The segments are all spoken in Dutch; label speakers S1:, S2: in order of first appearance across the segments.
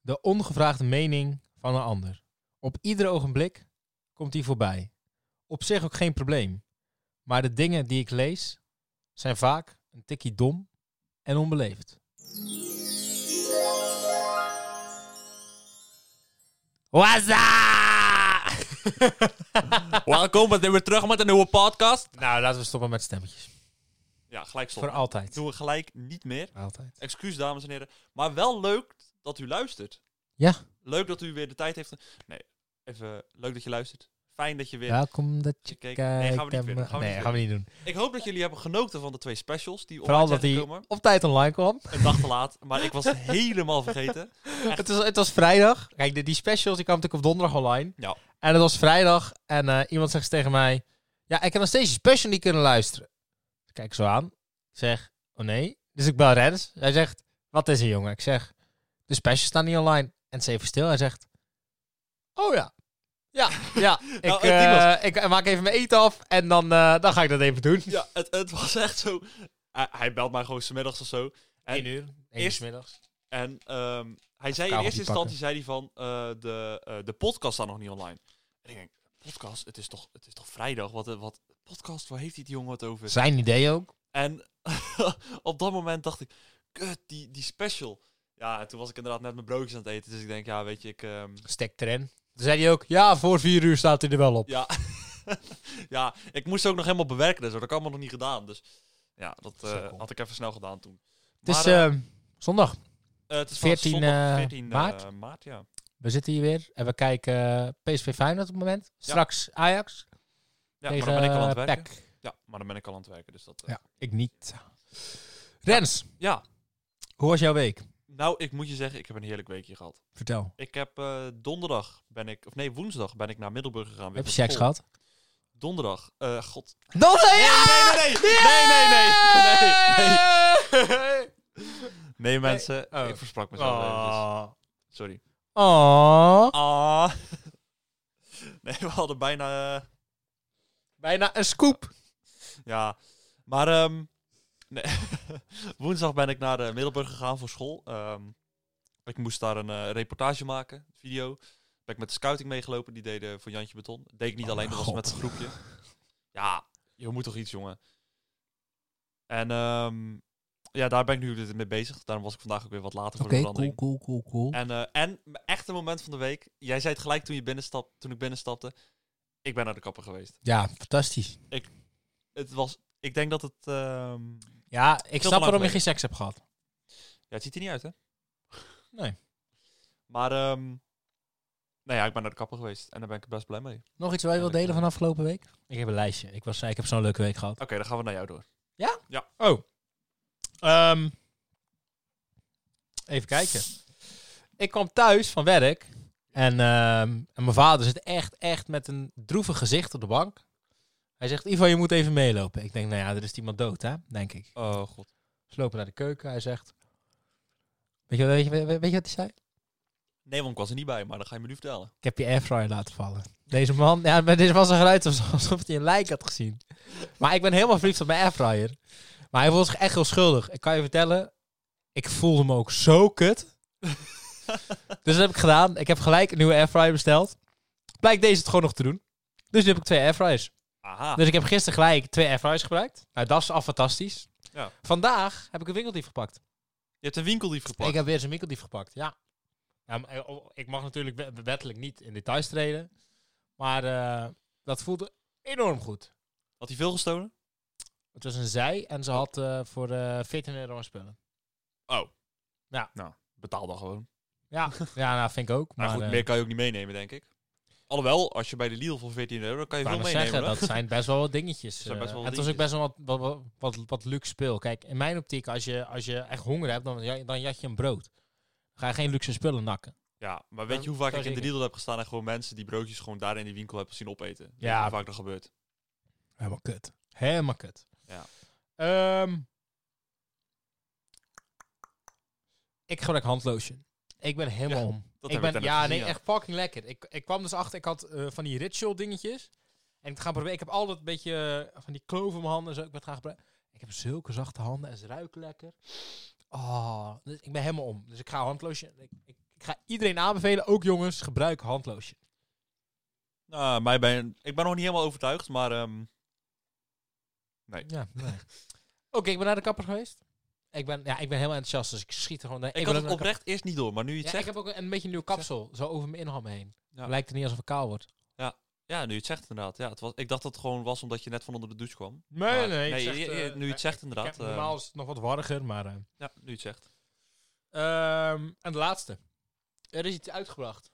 S1: De ongevraagde mening van een ander. Op ieder ogenblik komt die voorbij. Op zich ook geen probleem. Maar de dingen die ik lees zijn vaak een tikkie dom en onbeleefd.
S2: Waza! Welkom, we zijn weer terug met een nieuwe podcast.
S1: Nou, laten we stoppen met stemmetjes.
S2: Ja, gelijk
S1: Voor
S2: stoppen.
S1: altijd.
S2: Doen we gelijk niet meer.
S1: altijd.
S2: Excuus, dames en heren. Maar wel leuk dat u luistert.
S1: Ja.
S2: Leuk dat u weer de tijd heeft. Nee, even leuk dat je luistert. Fijn dat je weer...
S1: Welkom dat je
S2: Kijk,
S1: kijkt.
S2: nee, gaan we niet
S1: en-
S2: weer doen, gaan we
S1: nee,
S2: niet weer
S1: gaan we niet doen.
S2: Ik hoop dat jullie hebben genoten van de twee specials die
S1: Vooral
S2: online
S1: dat
S2: zijn
S1: hij
S2: gekomen.
S1: op tijd online kwam.
S2: Een dag te laat, maar ik was helemaal vergeten.
S1: Het was, het was vrijdag. Kijk, de- die specials die kwamen natuurlijk op donderdag online.
S2: Ja.
S1: En het was vrijdag. En eh, iemand zegt tegen mij... Ja, ik heb nog steeds die special niet kunnen luisteren. Ik kijk zo aan. Ik zeg, oh nee. Dus ik bel Rens. Hij zegt, wat is er jongen? Ik zeg, de specials staan niet online. En ze even stil. Hij zegt, oh ja. Ja, ja. Ik,
S2: Nou, het ding
S1: eh, ik maak even mijn eten af. En dan, eh, dan ga ik dat even doen.
S2: Ja, het, het was echt zo... Hij, hij belt mij gewoon 's middags of zo. En-
S1: Eén uur. Eén uur
S2: Eerst-
S1: 's middags.
S2: En ehm, hij zei
S1: kabeltje
S2: in eerste
S1: pakken.
S2: instantie zei hij van eh, de, eh, de podcast staat nog niet online. En ik denk, podcast, het is toch, het is toch vrijdag? Wat, eh, wat podcast, waar heeft die jongen het over?
S1: Zijn idee ook.
S2: En op dat moment dacht ik, kut, die, die special. Ja, en toen was ik inderdaad net mijn broodjes aan het eten. Dus ik denk, ja, weet je, ik... ehm,
S1: Stek erin. Toen zei hij ook, ja, voor vier uur staat hij er wel op.
S2: ja. ja, ik moest ze ook nog helemaal bewerken. Dus dat heb ik allemaal nog niet gedaan. Dus ja, dat eh,
S1: Sukkel.
S2: had ik even snel gedaan toen.
S1: Het is
S2: Maar, eh,
S1: eh, zondag.
S2: eh, het is
S1: 14,
S2: 14,
S1: eh,
S2: 14 eh,
S1: maart?
S2: maart, ja.
S1: We zitten hier weer en we kijken eh, PSV Feyenoord op het moment. Straks Ajax
S2: Ja,
S1: tegen
S2: maar dan ben ik al aan het
S1: eh,
S2: werken.
S1: PEC.
S2: Ja, maar dan ben ik al aan het werken. Dus dat, eh,
S1: Ja, ik niet. Rens,
S2: ja,
S1: hoe was jouw week?
S2: Nou, ik moet je zeggen, ik heb een heerlijk weekje gehad.
S1: Vertel.
S2: Ik heb eh, donderdag ben ik, of nee, woensdag ben ik naar Middelburg gegaan. weer
S1: Heb je
S2: voor
S1: seks
S2: school.
S1: gehad?
S2: Donderdag. eh, god.
S1: Dat ja!
S2: Nee, nee, nee, nee, nee, nee, nee, nee.
S1: nee.
S2: Nee, mensen, eh,
S1: oh.
S2: ik versprak mezelf. eventjes.
S1: Oh.
S2: Sorry.
S1: Oh.
S2: Ah. nee, we hadden bijna. eh,
S1: Bijna een scoop.
S2: ja. Maar ehm, nee. woensdag ben ik naar eh, Middelburg gegaan voor school. Ehm, ik moest daar een eh, reportage maken, video. Ben ik met de scouting meegelopen, die deden voor Jantje Beton. Dat deed ik niet
S1: Oh,
S2: alleen, dat was
S1: God.
S2: met een groepje. Ja, je moet toch iets, jongen. En ehm, ja, daar ben ik nu mee bezig. Daarom was ik vandaag ook weer wat later voor de verandering.
S1: cool, cool, cool.
S2: En, eh, en mijn echte moment van de week. Jij zei het gelijk toen, je binnenstap, toen ik binnenstapte. Ik ben naar de kapper geweest.
S1: Ja, fantastisch.
S2: Het was, ik denk dat het... ehm,
S1: Ja, ik snap waarom
S2: lang
S1: je
S2: geleden.
S1: geen seks hebt gehad.
S2: Ja, het ziet er niet uit, hè?
S1: Nee.
S2: Maar, ehm nou ja, ik ben naar de kapper geweest en daar ben ik best blij mee. Oké,
S1: Nog iets wat je wilt
S2: Ja, dat
S1: delen
S2: kan.
S1: van afgelopen week? Ik heb een lijstje. Ik, was, ik heb zo'n leuke week gehad.
S2: dan gaan we naar jou door.
S1: Oh. Ehm, even kijken. Ik kwam thuis van werk. En, ehm, en mijn vader zit echt, echt met een droevig gezicht op de bank. Hij zegt, Ivan, je moet even meelopen. Ik denk, nou ja, er is iemand dood, hè? Denk ik.
S2: Oh, god.
S1: Dus we lopen naar de keuken. Hij zegt... Weet je, wat- weet, je, weet je wat hij zei?
S2: Nee, want ik was er niet bij, maar dan ga je me nu vertellen.
S1: Ik heb je airfryer laten vallen. Deze man... Ja, maar dit was een geluid alsof alsof hij een lijk had gezien. Maar ik ben helemaal verliefd op mijn airfryer. Maar hij voelt zich echt heel schuldig. Ik kan je vertellen, ik voelde me ook zo kut. dus dat heb ik gedaan. Ik heb gelijk een nieuwe airfryer besteld. Blijkt deze het gewoon nog te doen. Dus nu heb ik twee airfryers.
S2: Aha.
S1: Dus ik heb gisteren gelijk twee airfryers gebruikt. Nou, dat is al fantastisch.
S2: Ja.
S1: Vandaag heb ik een winkeldief gepakt.
S2: Je hebt een winkeldief gepakt.
S1: Ik heb weer eens een winkeldief gepakt, ja. ja maar, eh, oh, ik mag natuurlijk we- wettelijk niet in details treden. Maar eh, dat voelde enorm goed.
S2: Had hij veel gestolen?
S1: Het was een zij en ze had eh, voor eh 14 euro aan spullen.
S2: Oh.
S1: Ja.
S2: Nou, betaal dan gewoon.
S1: Ja, ja nou, vind ik ook. Maar
S2: Maar goed,
S1: eh,
S2: meer kan je ook niet meenemen, denk ik. Alhoewel, als je bij de Lidl voor 14 euro, kan
S1: ik
S2: je
S1: wou
S2: veel
S1: nog
S2: meenemen.
S1: zeggen,
S2: hoor.
S1: dat zijn best wel wat dingetjes.
S2: zijn
S1: eh.
S2: best wel wat
S1: het was ook best wel wat, wat, wat, wat, wat luxe spul. Kijk, in mijn optiek, als je, als je echt honger hebt, dan, ja- dan jat je een brood. Dan ga je geen luxe spullen nakken.
S2: Ja, maar weet je hoe
S1: Zo
S2: vaak ik in
S1: zeker.
S2: de Lidl heb gestaan en gewoon mensen die broodjes gewoon daar in die winkel hebben zien opeten? Weet je
S1: Ja.
S2: Hoe vaak dat gebeurt.
S1: Helemaal kut. Helemaal kut.
S2: Ja.
S1: Ehm, ik gebruik handlotion. Ik ben helemaal
S2: Ja,
S1: om.
S2: Dat
S1: ik
S2: heb ik
S1: ben,
S2: daarnet
S1: ja,
S2: gezien,
S1: nee, echt fucking lekker. Ik, ik kwam dus achter, ik had eh, van die ritual dingetjes. En ik ga proberen, ik heb altijd een beetje eh, van die kloven in mijn handen en zo. Ik ben het gaan gebruiken. Ik heb zulke zachte handen en ze ruiken lekker. Oh, dus ik ben helemaal om. Dus ik ga handlotion. Ik, ik Ik ga iedereen aanbevelen, ook jongens, gebruik handloosje.
S2: Nou, mij ben, ik ben nog niet helemaal overtuigd, maar ehm,
S1: Ja, nee. Oké, ik ben naar de kapper geweest. Ik ben, ja, ik ben helemaal enthousiast, dus ik schiet er gewoon... Ik,
S2: ik,
S1: ben
S2: had het
S1: ook naar de
S2: oprecht eerst niet door. Maar nu je het
S1: kapper- Ja, ik
S2: zegt,
S1: heb ook een, een beetje een nieuwe kapsel, zo over mijn inham heen.
S2: Ja.
S1: Lijkt het niet alsof ik kaal word.
S2: ja, nu je het zegt inderdaad. Ja, het was, ik dacht dat het gewoon was omdat je net van onder de douche kwam.
S1: Nee,
S2: Maar- je- je- nu je het zegt inderdaad. eh,
S1: normaal is het nog wat warriger, maar... eh.
S2: ja, nu je het zegt.
S1: Ehm, en de laatste. Er is iets uitgebracht.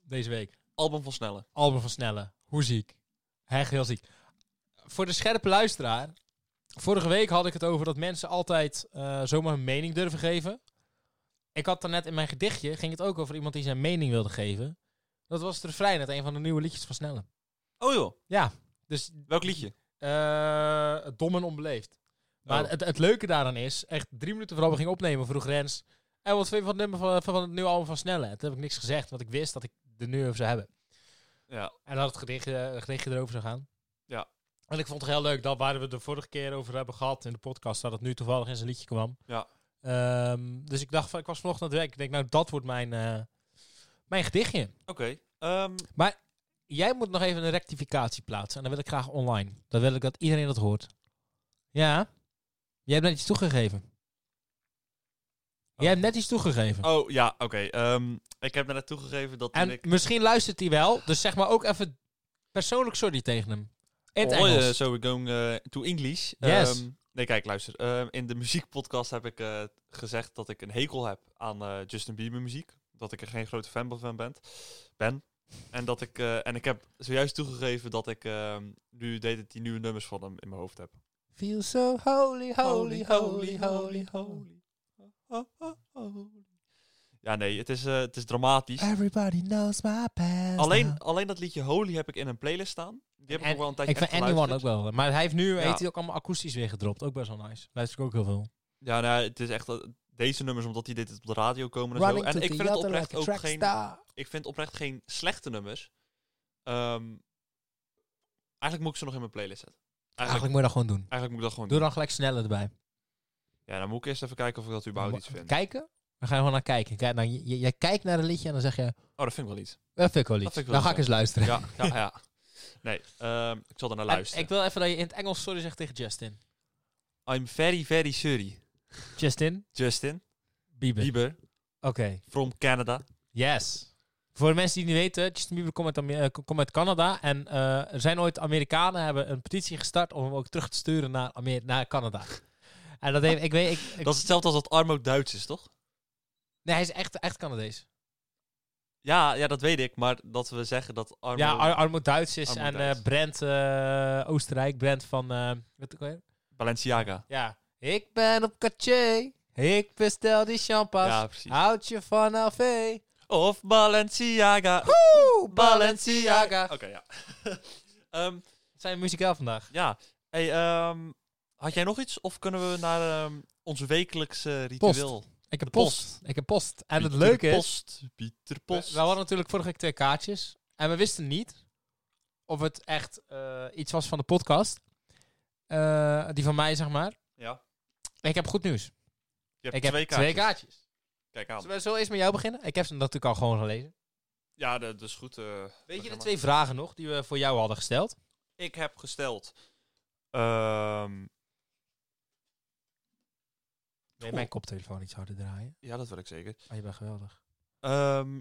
S1: Deze week.
S2: Album van Snelle.
S1: Album van Snelle. Hoe ziek. Echt heel ziek. Voor de scherpe luisteraar. Vorige week had ik het over dat mensen altijd eh, zomaar hun mening durven geven. Ik had daarnet in mijn gedichtje, ging het ook over iemand die zijn mening wilde geven. Dat was de refrein uit een van de nieuwe liedjes van Snelle.
S2: Oh joh,
S1: Ja, dus
S2: welk liedje?
S1: eh, dom en onbeleefd. Maar
S2: Oh.
S1: het, het leuke daaraan is, echt drie minuten vooral we gingen opnemen, vroeg Rens. En wat vind je van het, nummer van, van het nieuwe album van Snelle? En toen heb ik niks gezegd, want ik wist dat ik de nu over zou hebben.
S2: Ja,
S1: En dat het gedichtje, eh, het gedichtje erover zou gaan.
S2: Ja.
S1: En ik vond het heel leuk dat waar we het de vorige keer over hebben gehad in de podcast, dat het nu toevallig in zijn liedje kwam.
S2: Ja.
S1: Ehm, dus ik dacht, van- ik was vanochtend aan het werk. Ik denk, nou, dat wordt mijn, eh, mijn gedichtje.
S2: oké. Ehm,
S1: Jij moet nog even een rectificatie plaatsen. En dan wil ik graag online. Dan wil ik dat iedereen dat hoort. Ja? Jij hebt net iets toegegeven. Jij hebt net iets toegegeven.
S2: oh ja, oké. ehm, ik heb net toegegeven dat toen
S1: en
S2: ik...
S1: misschien luistert hij wel. Dus zeg maar ook even persoonlijk sorry tegen hem. In het
S2: Oh,
S1: Engels.
S2: eh, so we're going eh, to English.
S1: Yes.
S2: Ehm, nee, kijk, luister. Ehm, in de muziekpodcast heb ik eh, gezegd dat ik een hekel heb aan eh, Justin Bieber muziek. Dat ik er geen grote fan van ben. ben. En, dat ik, eh, en ik heb zojuist toegegeven dat ik ehm, nu deed het die nieuwe nummers van hem in mijn hoofd heb.
S1: Feel so holy, holy, holy, holy, holy.
S2: holy. Oh, oh, holy. Ja, nee, het is, eh, het is dramatisch.
S1: Everybody knows my past.
S2: Alleen, alleen dat liedje Holy heb ik in een playlist staan. Die heb ik
S1: En
S2: ook wel een tijdje
S1: ik vind
S2: echt
S1: Anyone ook
S2: geluisterd.
S1: wel. Maar hij heeft nu
S2: Ja.
S1: heeft hij ook allemaal akoestisch weer gedropt. Ook best wel nice. Luister ik ook heel veel.
S2: Ja, nou, het is echt eh, deze nummers omdat die dit op de radio komen en zo. En ik vind het oprecht ook geen. Ik vind oprecht geen slechte nummers. Ehm, eigenlijk moet ik ze nog in mijn playlist zetten. Eigenlijk,
S1: Eigenlijk moet je dat gewoon doen.
S2: eigenlijk moet ik dat gewoon
S1: Ah, Doe
S2: doen.
S1: dan gelijk sneller erbij.
S2: Ja, dan moet ik eerst even kijken of ik dat überhaupt
S1: Wa-
S2: iets vind.
S1: Kijken? We gaan gewoon naar kijken. Kijk, nou, je- je- jij kijkt naar een liedje en dan zeg je...
S2: Oh, dat vind ik wel iets.
S1: Dat vind ik wel
S2: Dat
S1: iets.
S2: vind ik
S1: Dan
S2: wel
S1: ga ik
S2: iets,
S1: eens luisteren.
S2: Ja, ja, ja. Nee, ehm, ik zal er naar
S1: En
S2: luisteren.
S1: Ik wil even dat je in het Engels sorry zegt tegen Justin.
S2: I'm very, very sorry.
S1: Justin?
S2: Justin
S1: Bieber.
S2: Bieber
S1: Oké.
S2: from Canada.
S1: Yes. Voor de mensen die het niet weten, Justin Bieber komt uit, Amer- eh, komt uit Canada. En eh, er zijn ooit Amerikanen hebben een petitie gestart om hem ook terug te sturen naar, Amer- naar Canada. en dat heeft, ik weet, ik, ik-
S2: Dat is hetzelfde als dat Armo Duits is, toch?
S1: nee, hij is echt, echt Canadees.
S2: Ja, ja, dat weet ik. Maar dat we zeggen dat Armo...
S1: ja, Ar Armo Duits is
S2: Armo
S1: en
S2: Duits.
S1: eh Brent eh, Oostenrijk, Brent van, eh, wat ook alweer?
S2: Balenciaga.
S1: Ja. Ik ben op Caché. Ik bestel die champas.
S2: Ja, precies.
S1: Houd je vanaf, hé.
S2: Of Balenciaga.
S1: Oeh,
S2: Oké, ja. Ehm,
S1: Zijn we muzikaal vandaag?
S2: ja. Hey, ehm, had jij nog iets? Of kunnen we naar ehm, onze wekelijkse ritueel?
S1: Ik heb
S2: Post.
S1: post. Ik heb post. En het
S2: Pieter
S1: leuke is,
S2: Post, Pieter
S1: we,
S2: Post.
S1: we hadden natuurlijk vorige week twee kaartjes. En we wisten niet of het echt eh, iets was van de podcast. Eh, die van mij, zeg maar.
S2: ja.
S1: Ik heb goed nieuws.
S2: Je hebt
S1: ik
S2: twee
S1: heb
S2: kaartjes.
S1: twee kaartjes.
S2: Kijk aan.
S1: Zullen we zo eerst met jou beginnen? Ik heb ze natuurlijk al gewoon gelezen.
S2: Ja, dat is goed. eh,
S1: Weet je
S2: programma.
S1: de twee vragen nog die we voor jou hadden gesteld?
S2: Ik heb gesteld... Ehm,
S1: Wil je
S2: Oeh.
S1: mijn koptelefoon iets harder draaien?
S2: ja, dat wil ik zeker.
S1: Oh, je bent geweldig.
S2: Ehm,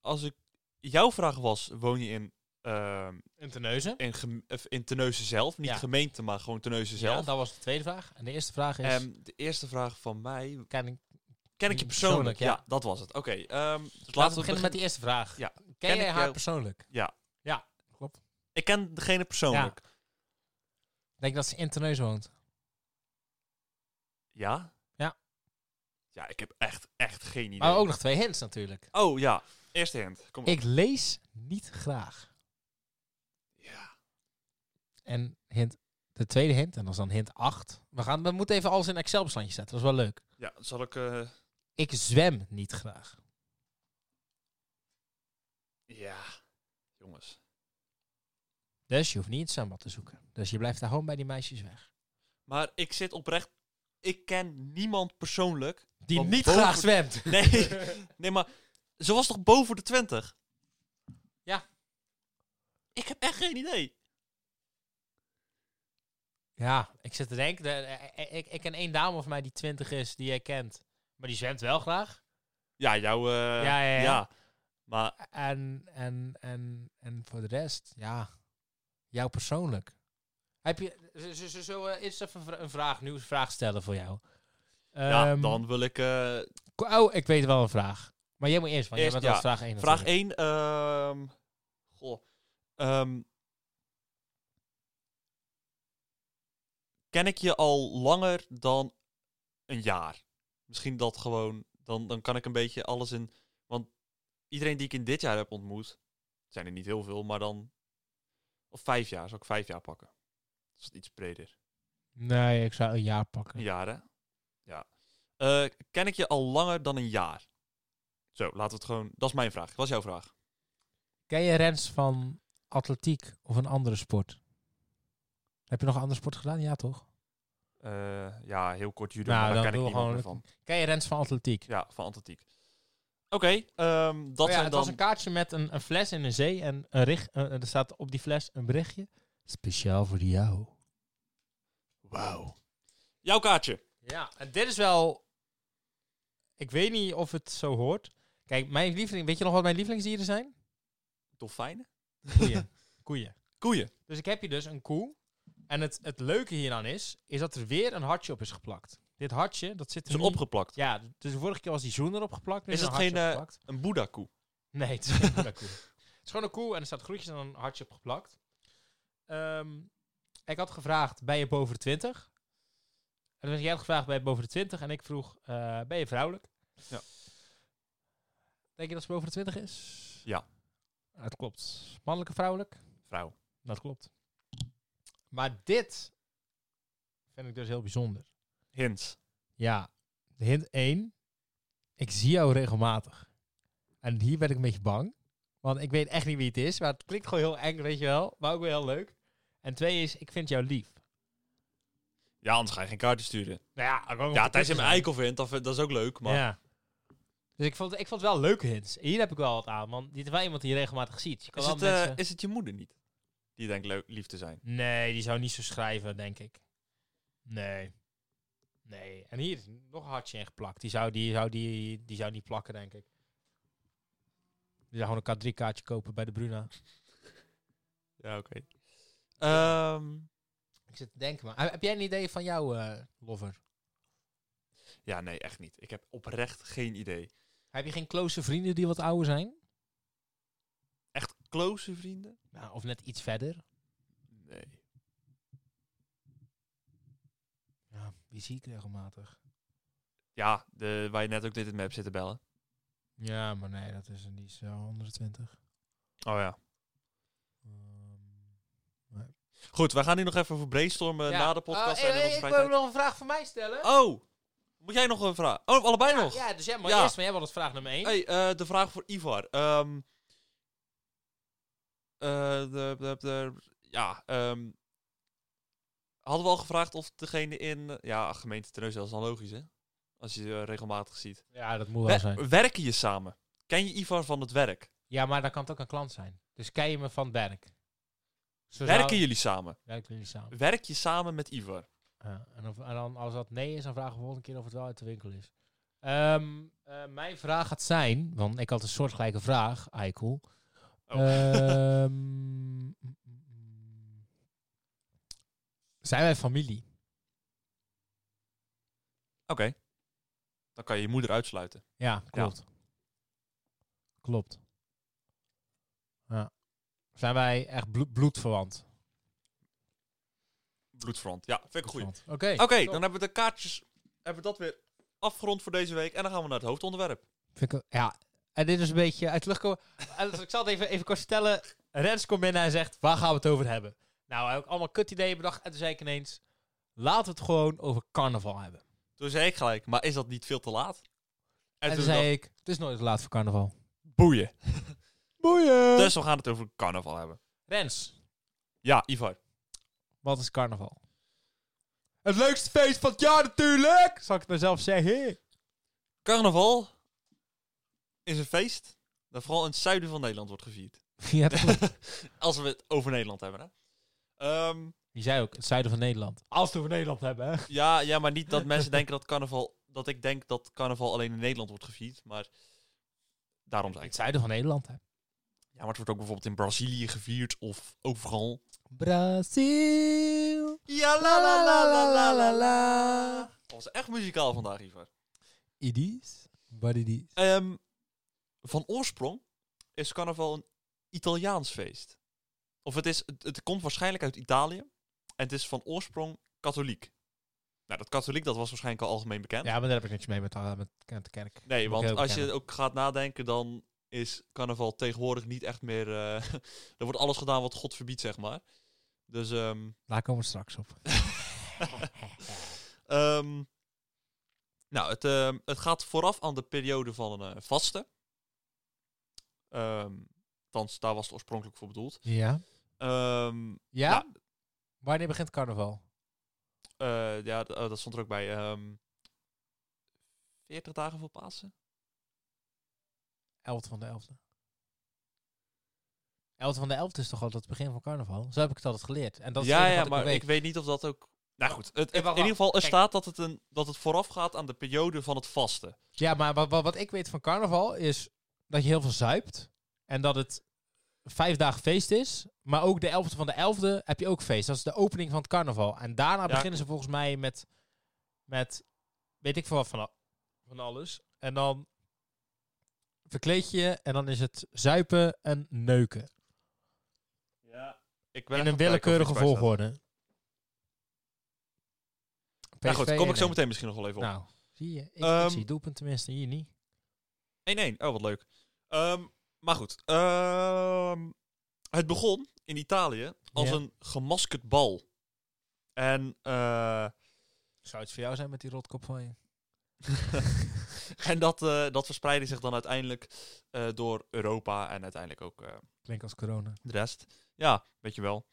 S2: als ik... Jouw vraag was, woon je in... ehm,
S1: En Terneuzen.
S2: in, gem- of in Terneuzen zelf? Niet
S1: Ja.
S2: gemeente, maar gewoon Terneuzen
S1: Ja,
S2: zelf.
S1: dat was de tweede vraag. En de eerste vraag is...
S2: Ehm, de eerste vraag van mij
S1: ken ik,
S2: Ken ik je persoonlijk?
S1: Persoonlijk,
S2: ja.
S1: ja.
S2: dat was het. Oké, ehm, dus laten,
S1: laten we beginnen met die eerste vraag.
S2: Ja.
S1: Ken,
S2: Ken
S1: jij
S2: ik
S1: haar
S2: jou-
S1: persoonlijk?
S2: Ik ken degene persoonlijk.
S1: Ik denk dat ze in Terneuzen woont.
S2: Ja? Ja,
S1: Ja.
S2: ik heb echt, echt geen idee.
S1: Maar ook nog twee hints natuurlijk.
S2: Oh ja, eerste hint. Kom op.
S1: Ik lees niet graag.
S2: Ja.
S1: En hint, de tweede hint, en dat is dan hint 8. We, gaan, we moeten even alles in Excel-bestandje zetten, dat is wel leuk.
S2: ja, zal ik... eh,
S1: Ik zwem niet graag.
S2: ja, jongens.
S1: Dus je hoeft niet het zwembad te zoeken. Dus je blijft daar gewoon bij die meisjes weg.
S2: Maar ik zit oprecht ik ken niemand persoonlijk.
S1: Die
S2: Want
S1: niet
S2: boven-
S1: graag zwemt.
S2: Nee, nee, maar ze was toch boven de 20?
S1: Ja.
S2: Ik heb echt geen idee.
S1: Ja, ik zit te denken. de- eh, eh, ik, ik ken één dame van mij die 20 is, die jij kent. Maar die zwemt wel graag.
S2: Ja, jou. eh,
S1: Ja, ja, ja.
S2: Maar
S1: En, en, en, en voor de rest, ja. Jou persoonlijk. Heb je. Ze, ze, ze zullen eerst even een vra- een vraag, nieuwsvraag stellen voor jou.
S2: ja,
S1: Ehm,
S2: dan wil ik. eh,
S1: ko- Oh, ik weet wel een vraag. Maar jij moet eerst, want jij
S2: Eerst,
S1: bent al
S2: ja.
S1: vraag 1.
S2: vraag 1. ehm goh. ehm, ken ik je al langer dan een jaar? Misschien dat gewoon. Dan, dan kan ik een beetje alles in. Want iedereen die ik in dit jaar heb ontmoet. zijn er niet heel veel, maar dan. Of vijf jaar, zou ik vijf jaar pakken. Dat is het iets breder.
S1: Nee, ik zou een jaar pakken.
S2: Een jaar, hè? Ja. Eh, ken ik je al langer dan een jaar? Zo, laten we het gewoon. Dat is mijn vraag. Wat is jouw vraag?
S1: Ken je Rens van atletiek of een andere sport? Heb je nog een andere sport gedaan? Ja, toch?
S2: Eh, ja, heel kort judo,
S1: Nou,
S2: maar daar
S1: dan
S2: ken ik
S1: doe
S2: niemand meer
S1: gewoon-
S2: van.
S1: Ken je Rens van atletiek?
S2: Ja, van atletiek. Oké, ehm, dat
S1: Oh ja,
S2: zijn
S1: het
S2: dan...
S1: was een kaartje met een, een fles in een zee en een richt, eh, er staat op die fles een berichtje. Speciaal voor jou.
S2: Wauw. Jouw kaartje.
S1: Ja, en dit is wel... Ik weet niet of het zo hoort. Kijk, mijn lieveling... Weet je nog wat mijn lievelingsdieren zijn?
S2: Dolfijnen?
S1: Koeien. Koeien.
S2: Koeien.
S1: Dus ik heb hier dus een koe. En het, het leuke hieraan is, is dat er weer een hartje op is geplakt. Dit hartje, dat zit er
S2: Ze zijn
S1: nu-
S2: opgeplakt.
S1: Ja, dus de vorige keer was die zoen erop geplakt. Nu
S2: Is
S1: er een
S2: het geen,
S1: hartje
S2: eh,
S1: opgeplakt.
S2: Een boeddha-koe.
S1: Nee, het is geen Buddha koe. Het is gewoon een koe en er staat groetjes en een hartje op geplakt. Ehm, ik had gevraagd, ben je boven de 20? En toen jij had gevraagd, ben je boven de 20? En ik vroeg, eh, ben je vrouwelijk?
S2: Ja.
S1: Denk je dat ze boven de 20 is?
S2: Ja.
S1: Dat klopt. Mannelijke vrouwelijk?
S2: Vrouw.
S1: Dat klopt. Maar dit vind ik dus heel bijzonder.
S2: Hint.
S1: Ja, hint 1. Ik zie jou regelmatig. En hier ben ik een beetje bang. Want ik weet echt niet wie het is. Maar het klinkt gewoon heel eng, weet je wel. Maar ook wel heel leuk. En twee is, ik vind jou lief.
S2: Ja, anders ga je geen kaartje sturen.
S1: Nou ja, ik wou nog
S2: Ja,
S1: een
S2: Thijs in
S1: tipje
S2: mijn eikel vindt, dat, dat is ook leuk,
S1: zijn.
S2: maar...
S1: Ja. Dus ik vond, ik vond het wel leuke hints. Hier heb ik wel wat aan. Want dit is wel iemand die je regelmatig ziet. Je kan
S2: Is,
S1: wel
S2: het, eh,
S1: mensen-
S2: is het je moeder niet? Die denkt leuk, lief te zijn.
S1: Nee, die zou niet zo schrijven, denk ik. Nee. Nee. En hier is nog een hartje ingeplakt. Die zou, die, zou, die, die zou niet plakken, denk ik. Die zou gewoon een K3-kaartje kopen bij de Bruna.
S2: Ja, oké. Ehm,
S1: Ik zit te denken, maar eh, heb jij een idee van jouw eh, lover?
S2: ja, nee, echt niet. Ik heb oprecht geen idee.
S1: Heb je geen close vrienden die wat ouder zijn?
S2: Echt close vrienden?
S1: Nou, of net iets verder?
S2: Nee.
S1: Ja, die zie ik regelmatig.
S2: Ja, de, waar je net ook dit in map zit te bellen.
S1: Ja, maar nee, dat is, die is eh, 120.
S2: Oh ja. Ehm, Goed, wij gaan nu nog even over brainstormen na de podcast. en
S1: Oh, eh, ik wil nog een vraag voor mij stellen.
S2: Oh, moet jij nog een vraag? Oh, allebei nog.
S1: Ja, dus jij mag
S2: Ja.
S1: eerst, maar jij had het vraag nummer 1.
S2: Hey, eh, de vraag voor Ivar. Ehm, eh, de, de, de, ja, ehm, hadden we al gevraagd of degene in... eh, Ja, gemeente Terneuzen, dat is dan logisch, hè? Als je ze regelmatig ziet.
S1: Ja, dat moet wel zijn.
S2: Wer- werken je samen? Ken je Ivar van het werk?
S1: Ja, maar dan kan het ook een klant zijn. Dus ken je me van het werk. Zo
S2: Werken
S1: zou-
S2: jullie samen?
S1: Werken jullie samen.
S2: Werk je samen met Ivar?
S1: Ja, en, of- en dan, als dat nee is, dan vragen we volgende keer of het wel uit de winkel is. Ehm, eh, mijn vraag gaat zijn, want ik had een soortgelijke vraag, Eikel.
S2: Oh.
S1: Ehm, mm, mm, mm. zijn wij familie?
S2: Oké. Dan kan je je moeder uitsluiten.
S1: Ja, klopt. Klopt. Ja. Zijn wij echt bloed, bloedverwant?
S2: Bloedfront. Ja, vind ik een goeie.
S1: Bloedverwant. Oké,
S2: Oké,
S1: top.
S2: dan hebben we de kaartjes, hebben we dat weer afgerond voor deze week. En dan gaan we naar het hoofdonderwerp.
S1: Vind ik, ja, en dit is een beetje uit de lucht komen. En dus ik zal het even, even kort vertellen. Rens komt binnen en zegt, waar gaan we het over hebben? Nou, hij had ook allemaal kut ideeën bedacht. En toen zei ik ineens, laten we het gewoon over carnaval hebben.
S2: Toen zei ik gelijk, maar is dat niet veel te laat?
S1: En,
S2: En, toen
S1: toen
S2: zei
S1: zei ik, het is nooit te laat voor carnaval.
S2: boeien.
S1: Boeien!
S2: Dus we gaan het over carnaval hebben.
S1: Rens,
S2: Ja, Ivar.
S1: wat is carnaval? Het leukste feest van het jaar natuurlijk! Zal ik het mezelf zeggen?
S2: Carnaval is een feest dat vooral in het zuiden van Nederland wordt gevierd.
S1: ja, dat klopt.
S2: Als we het over Nederland hebben, hè. Ehm,
S1: Je zei ook, het zuiden van Nederland. Als we over Nederland hebben, hè?
S2: ja, ja, maar niet dat mensen denken dat carnaval... Dat ik denk dat carnaval alleen in Nederland wordt gevierd, maar... Daarom zei ik
S1: Het
S2: het.
S1: zuiden van Nederland, hè?
S2: Ja, maar het wordt ook bijvoorbeeld in Brazilië gevierd of overal.
S1: Brazil.
S2: Ja,
S1: La la la la la la la.
S2: Dat was echt muzikaal vandaag, Ivar.
S1: It is what it is.
S2: Ehm, van oorsprong is carnaval een Italiaans feest. Of het, is, het, het komt waarschijnlijk uit Italië. En het is van oorsprong katholiek. Nou, dat katholiek dat was waarschijnlijk al algemeen bekend.
S1: Ja, maar daar heb ik niks mee met, eh, met, met de kerk.
S2: Nee,
S1: Moet ik
S2: want
S1: heel
S2: als je
S1: bekennen.
S2: ook gaat nadenken, dan is carnaval tegenwoordig niet echt meer... eh, er wordt alles gedaan wat God verbiedt, zeg maar. Dus ehm,
S1: Daar komen we straks op.
S2: Ehm, nou, het, ehm, het gaat vooraf aan de periode van een eh, vaste. Ehm althans, daar was het oorspronkelijk voor bedoeld.
S1: Ja?
S2: Ehm,
S1: Ja?
S2: Ja.
S1: Wanneer begint carnaval?
S2: eh, ja, d- eh, dat stond er ook bij. ehm 40 dagen voor Pasen?
S1: 11 van de 11e. 11 van de 11e is toch altijd het begin van carnaval? Zo heb ik het altijd geleerd. En dat is het
S2: ja,
S1: enige
S2: ja,
S1: wat
S2: maar
S1: ik
S2: ik weet niet of dat ook... Nou goed, het, in
S1: wacht,
S2: ieder geval, er
S1: Kijk.
S2: staat dat het, een, dat het vooraf gaat aan de periode van het vaste.
S1: Ja, maar wat, wat, wat ik weet van carnaval is dat je heel veel zuipt. En dat het vijf dagen feest is. Maar ook de 11e van de 11e heb je ook feest. Dat is de opening van het carnaval. En daarna beginnen ze volgens mij met, met weet ik veel wat van, al- van alles. En dan verkleed je je en dan is het zuipen en neuken.
S2: Ja. Ik ben
S1: In
S2: even
S1: een
S2: aan het kijken of
S1: willekeurige
S2: iets bij staat.
S1: volgorde.
S2: Nou goed,
S1: PSV
S2: kom ik zo
S1: 1-1.
S2: meteen misschien nog wel even op.
S1: Nou, zie je. Ik,
S2: Ehm,
S1: ik zie doelpunt tenminste hier niet.
S2: 1-1. Oh, wat leuk. Ehm, maar goed. Ehm, het begon in Italië als
S1: Ja.
S2: een gemaskerd bal. En, eh,
S1: Zou het voor jou zijn met die rotkop van je?
S2: en dat, eh, dat verspreidde zich dan uiteindelijk eh, door Europa en uiteindelijk ook eh,
S1: Klinkt als corona.
S2: de rest. Ja, weet je wel.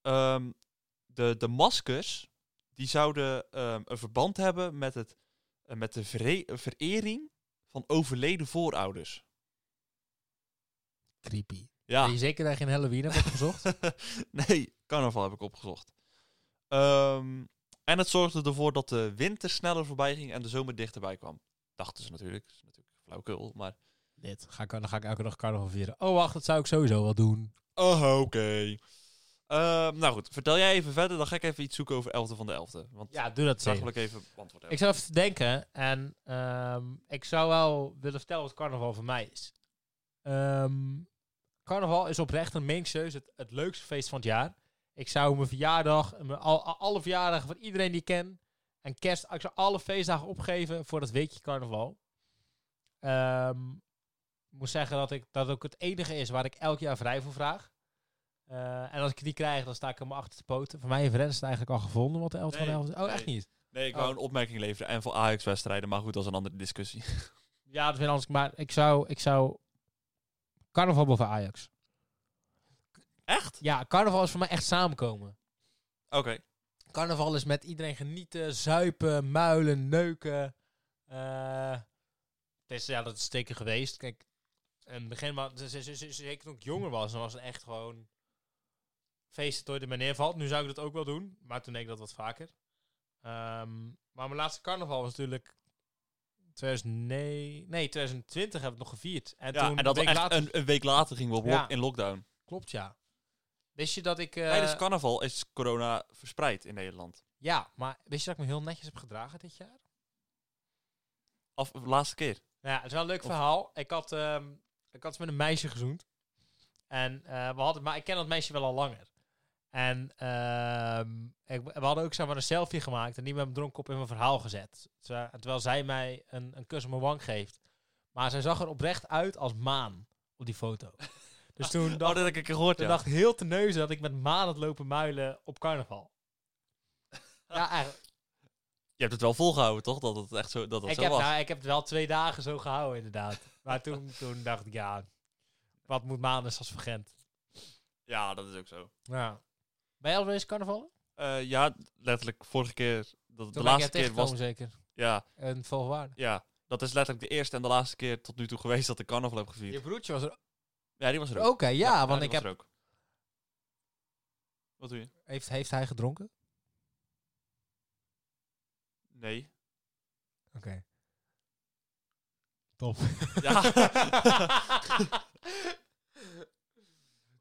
S2: Ehm, de, de maskers, die zouden ehm, een verband hebben met, het, eh, met de vere- verering van overleden voorouders.
S1: Creepy.
S2: Ja.
S1: Ben je zeker dat je geen Halloween hebt opgezocht?
S2: nee, carnaval heb ik opgezocht. Ehm, en het zorgde ervoor dat de winter sneller voorbij ging en de zomer dichterbij kwam. Dachten ze natuurlijk. Dat is natuurlijk flauwkul, maar...
S1: Dit. Ga ik, dan ga ik elke dag carnaval vieren. Oh, wacht, dat zou ik sowieso wel doen.
S2: Oh, oké. Ehm, nou goed, vertel jij even verder. Dan ga ik even iets zoeken over 11e van de 11e. Want
S1: Ja, doe dat
S2: daar
S1: zeker.
S2: wil ik even antwoord hebben.
S1: Ik zou even te denken en ehm, ik zou wel willen vertellen wat carnaval voor mij is. Ehm, carnaval is oprecht en meen ik serieus het, het leukste feest van het jaar. Ik zou mijn verjaardag, mijn, al, al- alle verjaardagen van iedereen die ik ken en kerst, ik zou alle feestdagen opgeven voor dat weekje carnaval. Ehm, ik moet zeggen dat ik, dat ook het enige is waar ik elk jaar vrij voor vraag. Eh, en als ik die krijg, dan sta ik helemaal achter de poten. Voor mij heeft Rens het eigenlijk al gevonden, wat de 11 van de
S2: Nee,
S1: 11 is. Oh, echt
S2: nee.
S1: niet?
S2: Nee, ik wou
S1: Oh.
S2: een opmerking leveren. En voor Ajax-wedstrijden, maar goed, dat is een andere discussie.
S1: Ja, dat vind ik anders. Maar ik zou, ik zou carnaval boven Ajax.
S2: Echt?
S1: Ja, carnaval is voor mij echt samenkomen.
S2: Oké.
S1: Carnaval is met iedereen genieten, zuipen, muilen, neuken. Eh, het is, ja, dat is zeker geweest. Kijk, in het begin, maar z- z- z- zeker toen ik jonger was, dan was het echt gewoon feesten tot de meneer valt. Nu zou ik dat ook wel doen, maar toen deed ik dat wat vaker. Ehm, maar mijn laatste carnaval was natuurlijk 2009, nee, 2020 hebben we het nog gevierd. En
S2: Ja,
S1: toen
S2: en dat
S1: een
S2: we
S1: week
S2: echt
S1: later-
S2: een, een week later gingen we op lo-
S1: Ja.
S2: in lockdown.
S1: Klopt, ja. Wist je dat ik... eh,
S2: Tijdens carnaval is corona verspreid in Nederland.
S1: ja, maar wist je dat ik me heel netjes heb gedragen dit jaar?
S2: Af, laatste keer.
S1: Nou ja, het is wel een leuk
S2: Of-
S1: verhaal. Ik had, ehm, ik had met een meisje gezoend. En eh, we hadden, maar ik ken dat meisje wel al langer. En ehm, ik, we hadden ook zeg maar, een selfie gemaakt en die met mijn dronkkop in mijn verhaal gezet. Terwijl, terwijl zij mij een, een kus op mijn wang geeft. Maar zij zag er oprecht uit als maan op die foto. Dus toen
S2: Oh, dat heb ik een keer gehoord,
S1: Ik
S2: ja.
S1: dacht heel te neuzen dat ik met maan had lopen muilen op carnaval. ja, eigenlijk.
S2: Je hebt het wel volgehouden, toch? Dat het echt zo, dat het
S1: ik,
S2: zo
S1: heb,
S2: was.
S1: nou, ik heb het wel twee dagen zo gehouden, inderdaad. Maar toen, toen dacht ik, ja, wat moet maanden als vergent.
S2: Ja, dat is ook zo.
S1: Ja. Ben jij alweer eens carnaval?
S2: Eh, ja, letterlijk vorige keer. Dat, de
S1: Toen ben ik
S2: laatste
S1: jou
S2: keer was.
S1: tegengekomen zeker.
S2: Ja,
S1: En volwaarde.
S2: ja, dat is letterlijk de eerste en de laatste keer tot nu toe geweest dat ik carnaval heb gevierd.
S1: Je broertje was er
S2: Oh, Ja, die was er
S1: Oké,
S2: ook.
S1: ja, want
S2: die
S1: ik
S2: was
S1: heb...
S2: er ook. Wat doe je?
S1: Heeft, heeft hij gedronken?
S2: Nee.
S1: Oké. Top.
S2: Ja.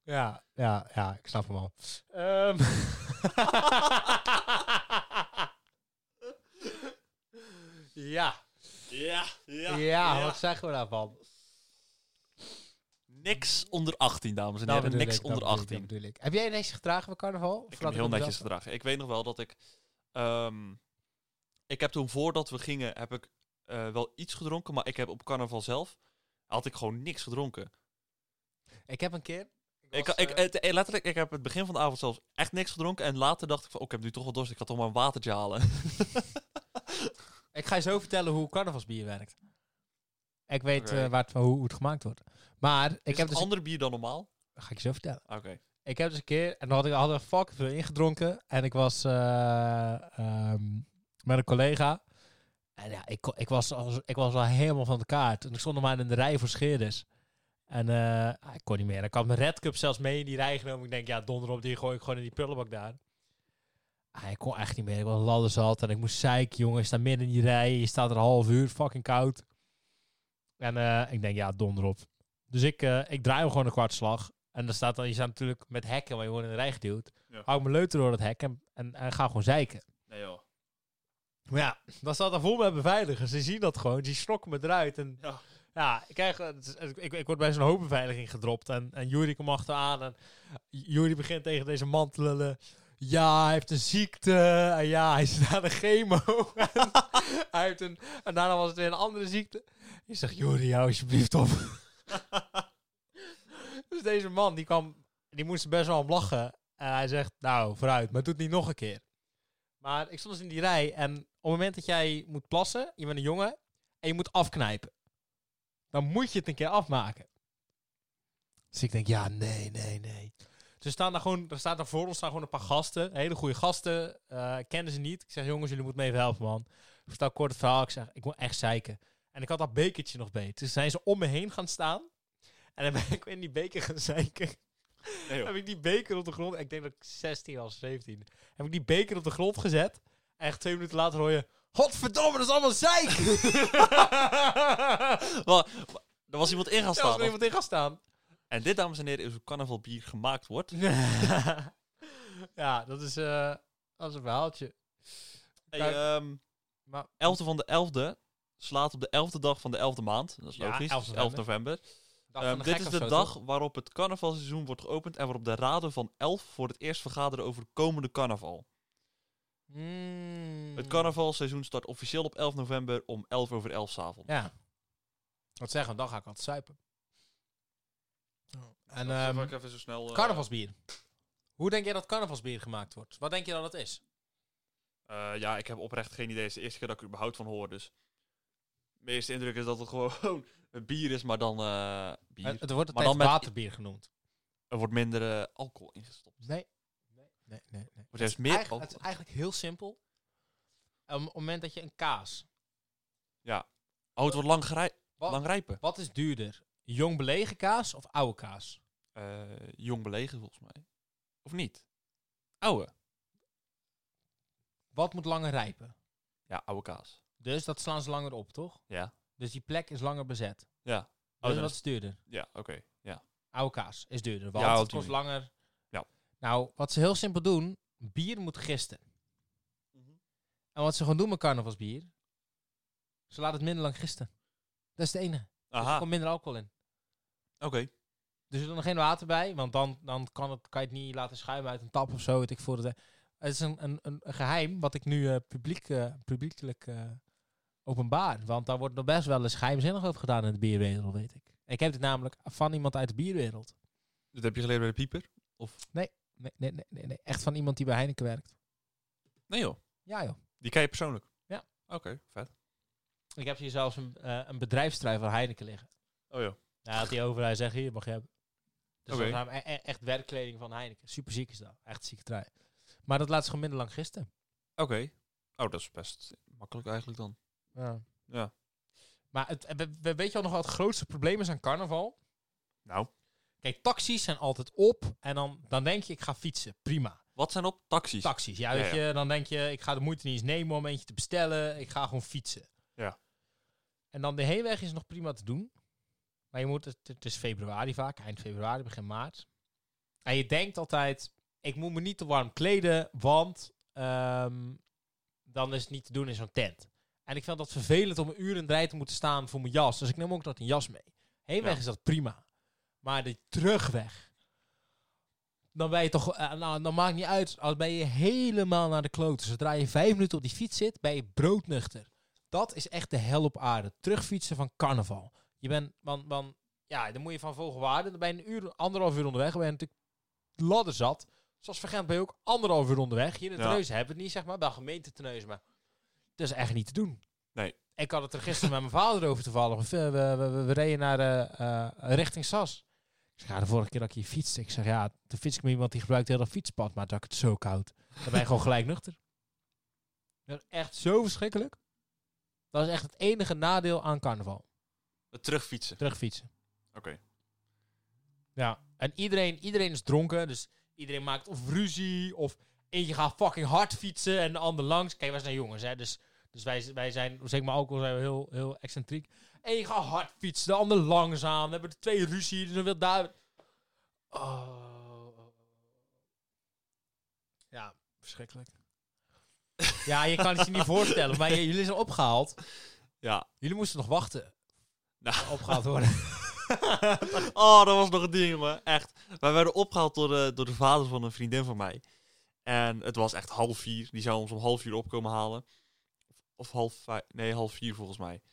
S1: ja, ja, ja, ik snap hem al. Ehm. ja.
S2: ja,
S1: Ja,
S2: ja,
S1: wat zeggen we daarvan?
S2: Niks onder 18, dames
S1: Nou,
S2: en
S1: Dat
S2: heren.
S1: bedoel
S2: Niks
S1: ik, dat
S2: onder
S1: bedoel ik,
S2: 18.
S1: dat bedoel ik. Heb jij netjes gedragen bij carnaval? Of
S2: Ik heb
S1: laat
S2: hem heel
S1: het
S2: netjes
S1: zelf?
S2: gedragen. Ik weet nog wel dat ik... ehm, ik heb toen, voordat we gingen, heb ik eh, wel iets gedronken. Maar ik heb op carnaval zelf, had ik gewoon niks gedronken.
S1: Ik heb een keer...
S2: Ik,
S1: was,
S2: ik,
S1: eh,
S2: het- eh, letterlijk, ik heb het begin van de avond zelfs echt niks gedronken. En later dacht ik van, oh, ik heb nu toch wel dorst. Ik ga toch maar een watertje halen.
S1: Ik ga je zo vertellen hoe carnavalsbier werkt. Ik weet
S2: Oké.
S1: eh, waar het, hoe, hoe het gemaakt wordt. Maar
S2: ik
S1: ik heb dus...
S2: andere bier dan normaal? Ah,
S1: Ga ik je zo vertellen.
S2: Oké.
S1: Ik heb dus een keer... En dan had ik al fucking veel ingedronken. En ik was eh, ehm, met een collega. En ja, ik, ko- ik, was, als- ik was wel helemaal van de kaart. En ik stond nog maar in de rij voor Scheerders. En eh, ah, ik kon niet meer. En ik had mijn Red Cup zelfs mee in die rij genomen. Ik denk, ja, donder op, die gooi ik gewoon in die prullenbak daar. Ah, ik kon echt niet meer. Ik was ladderzat en ik moest zeiken, jongen. Je staat midden in die rij. Je staat er een half uur, fucking koud. En eh, ik denk, ja, donder op. Dus ik, eh, ik draai hem gewoon een kwartslag. En dan staat dan, je staat natuurlijk met hekken, maar je wordt in de rij geduwd.
S2: Ja.
S1: Hou ik mijn leuter door het hek en, en, en ga gewoon zeiken.
S2: Nee joh.
S1: Maar ja, dan staat er vol met beveiligers. Ze zien dat gewoon. Die snokken me eruit. En ja,
S2: Ja.
S1: ik, krijg, het is- ik, ik word bij zo'n hoop beveiliging gedropt. En, en Jury komt achteraan. En Jury begint tegen deze man te lullen. Ja, hij heeft een ziekte. En ja, hij is aan de chemo. en, hij heeft een, en daarna was het weer een andere ziekte. Ik zeg, Jury, hou alsjeblieft op. dus deze man, die kwam... Die moest best wel om lachen. En hij zegt, nou, vooruit. Maar doe het niet nog een keer. Maar ik stond dus in die rij en op het moment dat jij moet plassen, je bent een jongen en je moet afknijpen, dan moet je het een keer afmaken. Dus ik denk, ja, nee, nee, nee. Dus er staan daar gewoon, er staat daar voor ons staan gewoon een paar gasten, hele goede gasten, eh kennen ze niet. Ik zeg, jongens, jullie moeten me even helpen, man. Ik vertel kort het verhaal, ik zeg, ik moet echt zeiken. En ik had dat bekertje nog beet. Dus zijn ze om me heen gaan staan en dan ben ik in die beker gaan zeiken.
S2: Nee joh.
S1: Heb ik die beker op de grond. Ik denk dat ik 16 was, 17. Heb ik die beker op de grond gezet. En echt twee minuten later hoor je. Godverdomme, dat is allemaal zeik!
S2: Wa- wa- er was iemand in
S1: Daar
S2: gaan
S1: was
S2: staan.
S1: er iemand in gaan staan.
S2: En dit, dames en heren, is hoe carnaval bier gemaakt wordt.
S1: ja, dat is, eh, dat is een verhaaltje.
S2: Hey,
S1: Kijk.
S2: ehm,
S1: Maar
S2: 11e van de 11e slaat op de 11e dag van de 11e maand. Dat is
S1: Ja,
S2: logisch.
S1: 11
S2: 11 11 november.
S1: dag
S2: Ehm,
S1: van
S2: dit
S1: gek
S2: is
S1: of
S2: de
S1: zo,
S2: dag
S1: toch?
S2: waarop het carnavalseizoen wordt geopend en waarop de raden van 11 voor het eerst vergaderen over de komende carnaval.
S1: Mm. Hmm.
S2: Het carnavalseizoen start officieel op 11 november om 11 over 11 s'avonds.
S1: Ja. Wat zeggen, want dan ga ik altijd zuipen.
S2: Oh,
S1: En ehm,
S2: even zo snel. eh,
S1: carnavalsbier. Hoe denk jij dat carnavalsbier gemaakt wordt? Wat denk je dat het is?
S2: Eh, ja, ik heb oprecht geen idee. Het is de eerste keer dat ik er überhaupt van hoor, dus... Mijn eerste indruk is dat het gewoon een bier is, maar dan... eh, bier.
S1: Het, het wordt het
S2: Maar dan met-
S1: waterbier genoemd.
S2: Er wordt minder eh, alcohol ingestopt.
S1: Nee. Nee, nee, nee. nee.
S2: Er is meer
S1: Eigenlijk-
S2: alcohol.
S1: het is eigenlijk heel simpel. Ehm, Op het moment dat je een kaas...
S2: Oh, het wordt lang, gerij-
S1: Wat,
S2: lang rijpen.
S1: wat is duurder? Jong belegen kaas of oude kaas?
S2: Eh, jong belegen, volgens mij. Of niet? Oude.
S1: Wat moet langer rijpen?
S2: Ja, oude kaas.
S1: Dus dat slaan ze langer op, toch?
S2: Ja.
S1: Dus die plek is langer bezet.
S2: Ja. Oh,
S1: Dus
S2: dan
S1: wat
S2: is-
S1: is duurder?
S2: Ja, oké. Ja.
S1: Oude kaas is duurder, want
S2: Ja, op
S1: het
S2: die
S1: kost langer.
S2: Ja.
S1: Nou, wat ze heel simpel doen, bier moet gisten. En wat ze gewoon doen met carnavalsbier, ze laten het minder lang gisten. Dat is de
S2: Ah.
S1: ene. Er
S2: Aha,
S1: komt minder alcohol in.
S2: oké.
S1: Dus er doet nog geen water bij, want dan, dan kan, het, kan je het niet laten schuimen uit een tap of zo. Weet ik voor het, het is een, een, een een geheim wat ik nu eh, publiek, eh, publiekelijk eh, openbaar. Want daar wordt nog best wel eens geheimzinnig over gedaan in de bierwereld, weet ik. Ik heb dit namelijk van iemand uit de bierwereld.
S2: Dat heb je geleerd bij de pieper?
S1: Nee, nee, nee, nee, nee. Echt van iemand die bij Heineken werkt.
S2: Nee joh,
S1: Ja joh.
S2: die ken je persoonlijk?
S1: Ja.
S2: Oké, vet.
S1: Ik heb hier zelfs een, eh een bedrijfstrui van Heineken liggen.
S2: Oh joh.
S1: Ja, had die over. Hij zegt, hier mag je hebben. Dus
S2: Oké.
S1: dat is namelijk e- e- echt werkkleding van Heineken. Super ziek is dat. Echt zieke trui. Maar dat laat ze gewoon minder lang gisten.
S2: Oké. Oh, dat is best makkelijk eigenlijk dan.
S1: Ja.
S2: Ja.
S1: Maar het, we- we- weet je wel nog wat het grootste probleem is aan carnaval?
S2: Nou.
S1: Kijk, taxis zijn altijd op. En dan, dan denk je, ik ga fietsen. Prima.
S2: Wat zijn op? Taxis.
S1: Taxis, ja,
S2: Ja,
S1: weet je. Dan denk je, ik ga de moeite niet eens nemen om eentje te bestellen. Ik ga gewoon fietsen.
S2: Ja.
S1: En dan de heenweg is nog prima te doen. Maar je moet, het, het is februari vaak. Eind februari, begin maart. En je denkt altijd, ik moet me niet te warm kleden. Want ehm, dan is het niet te doen in zo'n tent. En ik vind dat vervelend om een uur in de rij te moeten staan voor mijn jas. Dus ik neem ook nog een jas mee. Heenweg
S2: Ja.
S1: is dat prima. Maar de terugweg. Dan ben je toch... eh, nou, dan maakt niet uit. Als ben je helemaal naar de kloten. Zodra je vijf minuten op die fiets zit, ben je broodnuchter. Dat is echt de hel op aarde. Terugfietsen van carnaval. Je bent... Want, want, ja, dan moet je van volgewaarde. Dan ben je een uur, anderhalf uur onderweg. Dan ben je natuurlijk ladder zat. Zoals Vergent ben je ook anderhalf uur onderweg. Hier in
S2: Ja.
S1: Terneuzen hebben we het niet, zeg maar. Bij gemeente Terneuzen, maar... Dat is echt niet te doen.
S2: Nee.
S1: Ik had het er gisteren met mijn vader over toevallig. We, we, we, we- we reden naar, eh, eh, richting Sas. Ik zeg, ja, de vorige keer dat ik hier fietste, ik zeg, ja, toen fiets ik met iemand die gebruikt heel dat fietspad, maar dat ik het zo koud. Dan ben je gewoon gelijk nuchter. Dat is echt zo verschrikkelijk. Dat is echt het enige nadeel aan carnaval.
S2: Het terugfietsen.
S1: Terugfietsen.
S2: Oké.
S1: Ja. En iedereen, iedereen is dronken, dus iedereen maakt of ruzie, of eentje gaat fucking hard fietsen en de ander langs. Kijk, wij zijn jongens, hè, dus, dus wij, wij zijn, zeg maar alcohol, zijn we heel, heel excentriek. Eén gaat hard fietsen, de ander langzaam. Dan hebben de twee ruzie, dus dan wil daar... Oh. Ja, verschrikkelijk. Ja, je kan het je niet voorstellen, maar j- jullie zijn opgehaald.
S2: Ja.
S1: Jullie moesten nog wachten.
S2: Nou.
S1: Opgehaald worden.
S2: oh, dat was nog een ding, jongen. Echt. Wij werden opgehaald door de, door de vader van een vriendin van mij. En het was echt half vier. Die zou ons om half vier opkomen halen. Of half vijf. Nee, half vier volgens mij.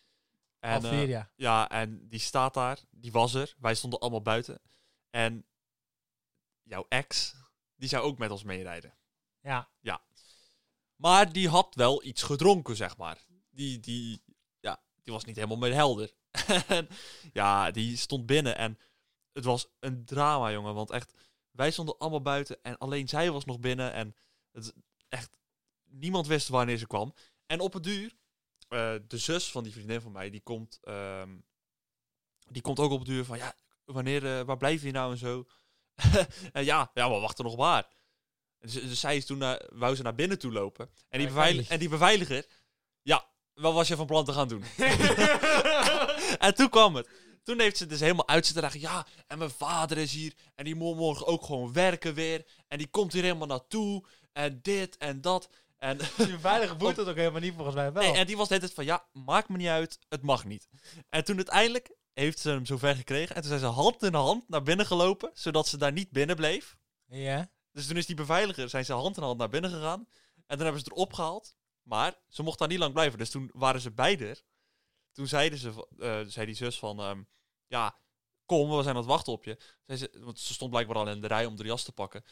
S2: En,
S1: Half
S2: eh,
S1: vier, ja.
S2: Ja, en die staat daar. Die was er. Wij stonden allemaal buiten. En jouw ex, die zou ook met ons meerijden.
S1: Ja.
S2: Maar die had wel iets gedronken, zeg maar. Die, die, ja, die was niet helemaal meer helder. En ja, die stond binnen en het was een drama, jongen. Want echt, wij stonden allemaal buiten en alleen zij was nog binnen. En het, is echt, niemand wist wanneer ze kwam. En op het duur, eh, de zus van die vriendin van mij, die komt, ehm, die komt ook op het duur van, ja, wanneer, eh, waar blijf je nou en zo? en ja, ja, maar wachten nog maar. Dus, dus zij is toen naar, wou ze naar binnen toe lopen. En die,
S1: Ja,
S2: beveil-
S1: kijk.
S2: en die beveiliger, ja, wat was je van plan te gaan doen? en toen kwam het. Toen heeft ze dus helemaal uit zitten dagen. Ja, en mijn vader is hier. En die moet morgen ook gewoon werken weer. En die komt hier helemaal naartoe. En dit en dat. En
S1: Je veilige boet dat ook helemaal niet, volgens mij wel.
S2: Nee, en die was de hele tijd van, ja, maakt me niet uit, het mag niet. En toen uiteindelijk heeft ze hem zover gekregen. En toen zijn ze hand in hand naar binnen gelopen, zodat ze daar niet binnen bleef.
S1: Ja.
S2: Dus toen is die beveiliger, zijn ze hand in hand naar binnen gegaan. En toen hebben ze het erop gehaald. Maar ze mocht daar niet lang blijven. Dus toen waren ze beide er. Toen zeiden ze, van- eh, zei die zus van, ehm, ja, kom, we zijn aan het wachten op je. Zei ze, want ze stond blijkbaar al in de rij om de jas te pakken.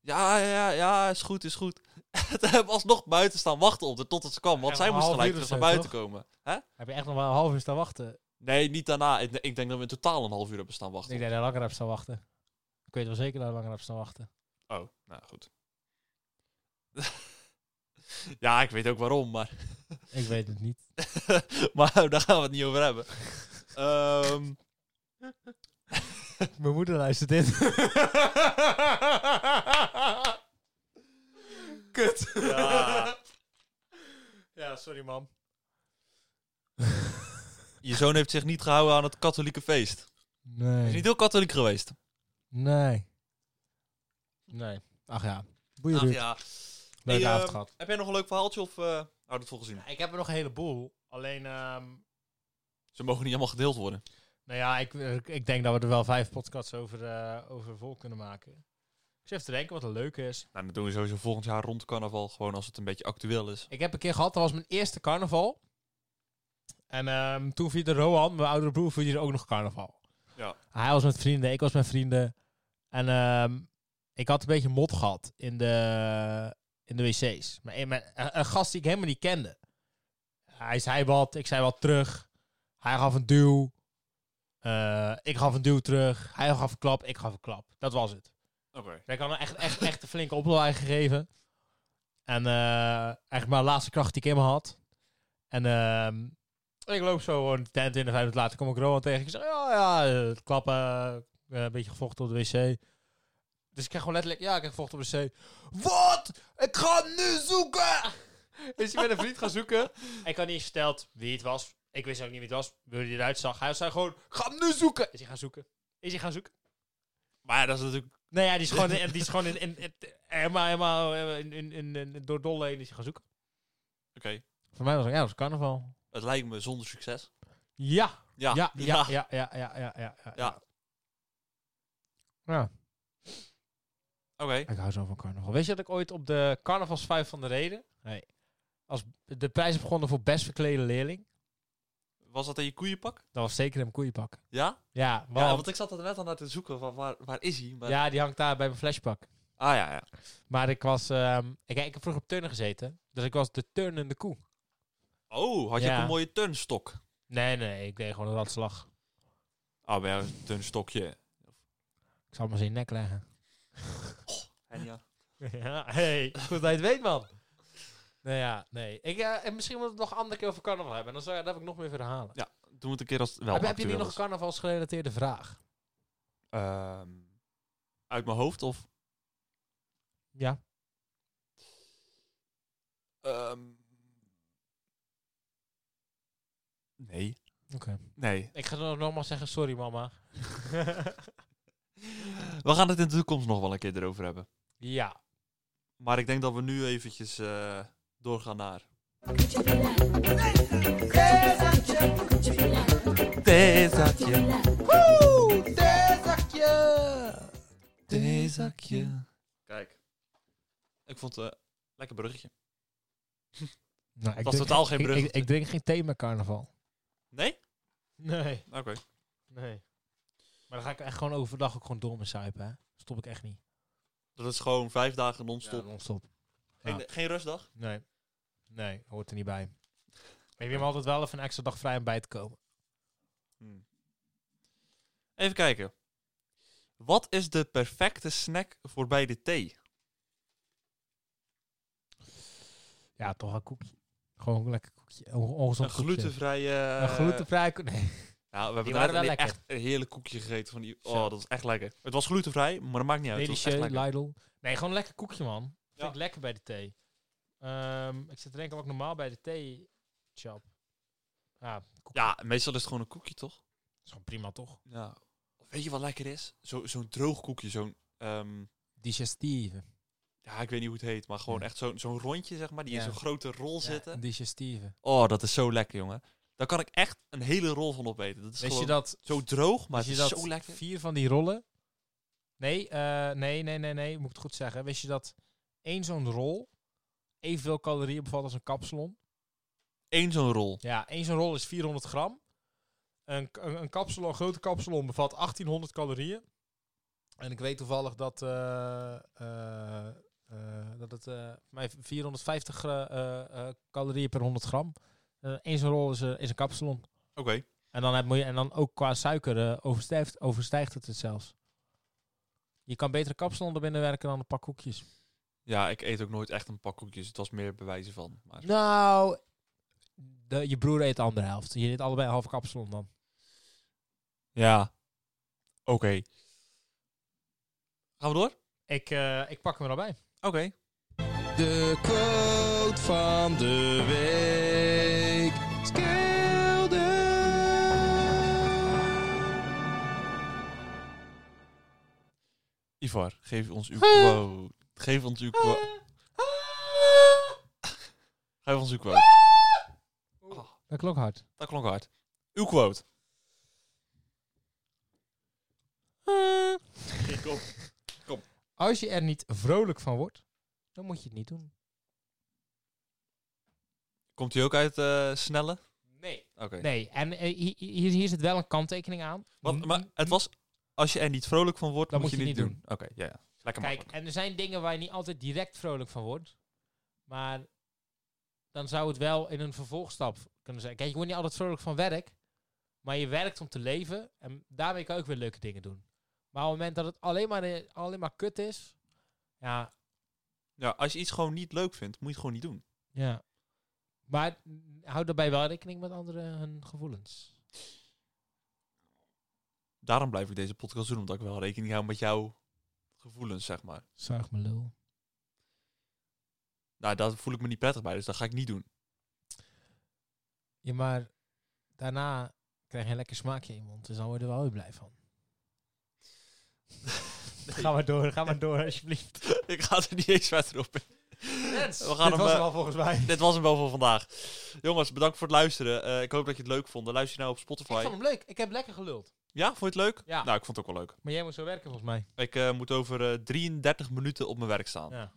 S2: Ja, ja, ja, ja, is goed, is goed. toen hebben we alsnog buiten staan wachten op de totdat ze kwam. Want
S1: Ja,
S2: zij
S1: maar
S2: moest
S1: half
S2: gelijk
S1: uur of
S2: terug naar
S1: zo,
S2: buiten komen. Hè?
S1: Heb je echt nog wel een half uur staan wachten?
S2: Nee, niet daarna. Ik, ik denk dat we in totaal een half uur hebben staan wachten.
S1: Ik denk dat je langer hebt staan wachten. Ik weet wel zeker dat je langer hebt staan wachten.
S2: Oh, nou goed. ja, ik weet ook waarom, maar...
S1: Ik weet het niet.
S2: maar daar gaan we het niet over hebben. Ehm,
S1: Mijn moeder luistert dit. Kut.
S2: Ja.
S1: Ja, sorry man.
S2: je zoon heeft zich niet gehouden aan het katholieke feest. Hij is
S1: Nee.
S2: niet heel katholiek geweest.
S1: Nee. Nee. Ach ja. Boeien
S2: Ach
S1: Ruud.
S2: ja.
S1: Leuke
S2: Hey,
S1: avond
S2: ehm,
S1: gehad.
S2: Heb jij nog een leuk verhaaltje of... eh Hou dat volgens zien.
S1: Ik heb er nog een heleboel. Alleen, ehm,
S2: Ze mogen niet allemaal gedeeld worden.
S1: nou ja, ik, ik, ik denk dat we er wel vijf podcasts over, eh, over vol kunnen maken. Ik zit even te denken wat er leuk is.
S2: Nou, dat doen we sowieso volgend jaar rond carnaval. Gewoon als het een beetje actueel is.
S1: Ik heb een keer gehad, dat was mijn eerste carnaval. En ehm, toen vierde Rohan, mijn oudere broer, vierde ook nog carnaval.
S2: Ja.
S1: Hij was met vrienden, ik was met vrienden. En ehm, ik had een beetje mot gehad in de, in de wc's. Maar een, mijn- een- een gast die ik helemaal niet kende. Hij zei wat, ik zei wat terug. Hij gaf een duw. Eh, ik gaf een duw terug. Hij gaf een klap, ik gaf een klap. Dat was het.
S2: Oké.
S1: Ik had hem echt, echt, echt een flinke oplaai gegeven. En eh, eigenlijk maar de laatste kracht die ik in me had. En ehm, ik loop zo gewoon de tent in. En vijf minuten later kom ik Rowan tegen. Ik zeg, ja, ja, eh, klappen. eh, een beetje gevochten op de wc. Dus ik krijg gewoon letterlijk, ja, ik krijg vocht op de wc. Wat? Ik ga nu zoeken! Dus ik ben een vriend gaan zoeken. Ik had niet eens verteld wie het was. Ik wist ook niet wie het was. Hoe hij eruit zag. Hij zei gewoon, ga hem nu zoeken! Is hij gaan zoeken? Is hij gaan zoeken?
S2: Maar ja, dat is natuurlijk...
S1: Nee, ja, die is gewoon, die is gewoon in, in, in, helemaal, helemaal eh, in, in, in, in- door Dolle heen is hij gaan zoeken.
S2: Oké,
S1: Voor mij was het, ja, dat was carnaval.
S2: het lijkt me zonder succes.
S1: Ja,
S2: Ja,
S1: ja, ja, ja, ja, ja, ja, ja. ja,
S2: Ah, Ja.
S1: Ja,
S2: Oké,
S1: ik hou zo van carnaval. Weet je dat ik ooit op de carnavalsvijf van de Reden... Nee. Als de prijzen begonnen voor best verklede leerling...
S2: was dat in je koeienpak?
S1: Dat was zeker in mijn koeienpak.
S2: Ja?
S1: Ja,
S2: Ja,
S1: want,
S2: want ik zat er net al naar te zoeken. Van waar, waar is hij? Maar...
S1: ja, die hangt daar bij mijn flashpak.
S2: Ah ja, ja.
S1: Maar ik was... ehm, ik, ik heb vroeger op turnen gezeten. Dus ik was de turnende koe.
S2: Oh, had je
S1: Ja.
S2: ook een mooie turnstok?
S1: Nee, nee, ik deed gewoon een ratslag.
S2: Oh, bij jou is het een turnstokje.
S1: Ik zal hem eens in je nek leggen.
S2: En ja.
S1: Ja, hey, goed dat je het weet, man. Nou ja, nee. Ik, eh, en misschien moeten we het nog een andere keer over carnaval hebben. Dan, zou, dan heb ik nog meer verhalen.
S2: Ja, doen we het een keer als het Nou, wel
S1: heb, heb je nu
S2: actueel
S1: nog een
S2: is.
S1: carnavalsgerelateerde vraag?
S2: Ehm, uit mijn hoofd of...
S1: Ja.
S2: ehm, nee.
S1: Oké.
S2: Nee.
S1: Ik ga nog nogmaals zeggen, sorry mama.
S2: We gaan het in de toekomst nog wel een keer erover hebben.
S1: ja.
S2: Maar ik denk dat we nu eventjes eh, doorgaan naar... Theezakje. Theezakje. Theezakje. Kijk. Ik vond het eh, lekker bruggetje.
S1: Nou, ik
S2: was totaal geen
S1: ik-
S2: brug.
S1: Ik, ik drink geen thee met carnaval.
S2: Nee?
S1: Nee.
S2: Oké.
S1: Nee. Maar dan ga ik echt gewoon overdag ook gewoon door met zuipen, hè. Stop ik echt niet.
S2: Dat is gewoon vijf dagen non-stop.
S1: Ja, non-stop.
S2: geen,
S1: ja.
S2: geen rustdag?
S1: Nee. Nee, hoort er niet bij. Ik neem altijd wel even een extra dag vrij om bij te komen.
S2: Hmm. Even kijken. Wat is de perfecte snack voor bij de thee?
S1: Ja, toch een koekje. Gewoon een lekker koekje. Een ongezond
S2: een
S1: koekje.
S2: glutenvrije...
S1: Een glutenvrij koek- Nee.
S2: Ja, Nou, we hebben
S1: Die
S2: daar
S1: waren wel lekker.
S2: echt een heerlijk koekje gegeten. Van die,
S1: Zo.
S2: oh, dat is echt lekker. Het was glutenvrij, maar dat maakt niet uit. Het was echt
S1: Delicieux,
S2: lekker.
S1: Lidl. Nee, gewoon een lekker koekje, man.
S2: Ja.
S1: Vind ik lekker bij de thee. Ehm, ik zit te denken wat ik normaal bij de thee chap. Ja, koek
S2: Ja, meestal is het gewoon een koekje, toch?
S1: is gewoon prima, toch?
S2: Ja. Weet je wat lekker is? Zo- Zo'n droog koekje, zo'n... ehm,
S1: Digestieve.
S2: ja, ik weet niet hoe het heet, maar gewoon
S1: Ja.
S2: echt zo'n zo'n rondje, zeg maar, die
S1: Ja.
S2: in zo'n grote rol zitten.
S1: digestieve.
S2: Oh, dat is zo lekker, jongen. Daar kan ik echt een hele rol van opeten. Dat is
S1: Weet
S2: gewoon
S1: je dat,
S2: zo droog, maar
S1: weet
S2: het
S1: je
S2: is
S1: dat
S2: zo lekker.
S1: vier van die rollen... Nee, eh, nee, nee, nee, nee. Moet ik het goed zeggen. Wist je dat één zo'n rol evenveel calorieën bevat als een kapsalon?
S2: Eén zo'n rol.
S1: Ja, één zo'n rol is 400 gram. Een, k- een, een, kapsalon, een grote kapsalon bevat 1800 calorieën. En ik weet toevallig dat, eh, eh, eh, dat het eh, voor mij 450 gra- eh, eh, calorieën per 100 gram. Eén zo'n rol is, eh, is een kapsalon.
S2: Oké.
S1: En dan, heb, moet je- en dan ook qua suiker eh, overstijgt, overstijgt het het zelfs. Je kan betere kapsalon er binnen werken dan een pak koekjes.
S2: Ja, ik eet ook nooit echt een pak koekjes. Het was meer bewijzen van. Maar...
S1: Nou, de, je broer eet de andere helft. Je eet allebei een halve kapsalon dan.
S2: Ja. Oké. Gaan we door? Oké.
S1: Ik, eh, ik pak hem er al bij.
S3: De quote van de week.
S2: Ivar, geef ons uw quote. Geef ons uw
S3: Ah.
S2: quote. Geef ons uw quote. Oh,
S1: Dat klonk hard.
S2: dat klonk hard. Uw quote. Kom.
S1: Als je er niet vrolijk van wordt, dan moet je het niet doen.
S2: Komt hij ook uit eh Snelle?
S1: Nee.
S2: Oké.
S1: Nee, en eh, hi- hi- hier, hier zit wel een kanttekening aan.
S2: Want, maar het was, als je er niet vrolijk van wordt,
S1: Dan
S2: moet
S1: moet
S2: je
S1: je
S2: niet
S1: het
S2: doen.
S1: niet
S2: Oké, ja, ja. Lekker
S1: Kijk,
S2: makkelijk.
S1: en er zijn dingen waar je niet altijd direct vrolijk van wordt. Maar dan zou het wel in een vervolgstap kunnen zijn. Kijk, je wordt niet altijd vrolijk van werk. Maar je werkt om te leven. En daarmee kan je ook weer leuke dingen doen. Maar op het moment dat het alleen maar, eh, alleen maar kut is. Ja,
S2: Ja, als je iets gewoon niet leuk vindt, moet je het gewoon niet doen.
S1: Ja. Maar mm, houd daarbij wel rekening met anderen hun gevoelens.
S2: Daarom blijf ik deze podcast doen, omdat ik wel rekening hou met jouw gevoelens, zeg maar.
S1: Zuig me lul.
S2: Nou, daar voel ik me niet prettig bij, dus dat ga ik niet doen.
S1: Ja, maar daarna krijg je een lekker smaakje in je mond. Dus dan word je er wel weer blij van. Ga maar door, ga maar door alsjeblieft.
S2: ik ga er niet eens verder op in.
S1: Dit
S2: We gaan hem,
S1: was
S2: eh,
S1: hem al volgens mij.
S2: Dit was hem wel voor vandaag. Jongens, bedankt voor het luisteren. Eh, ik hoop dat je het leuk vond. Luister je nou op
S1: Ik
S2: Spotify.
S1: vond hem leuk. Ik heb lekker geluld.
S2: Ja, vond je het leuk?
S1: Ja.
S2: Nou, ik vond het ook wel leuk.
S1: Maar jij moet zo werken volgens mij.
S2: Ik eh, moet over eh, 33 minuten op mijn werk staan.
S1: Ja.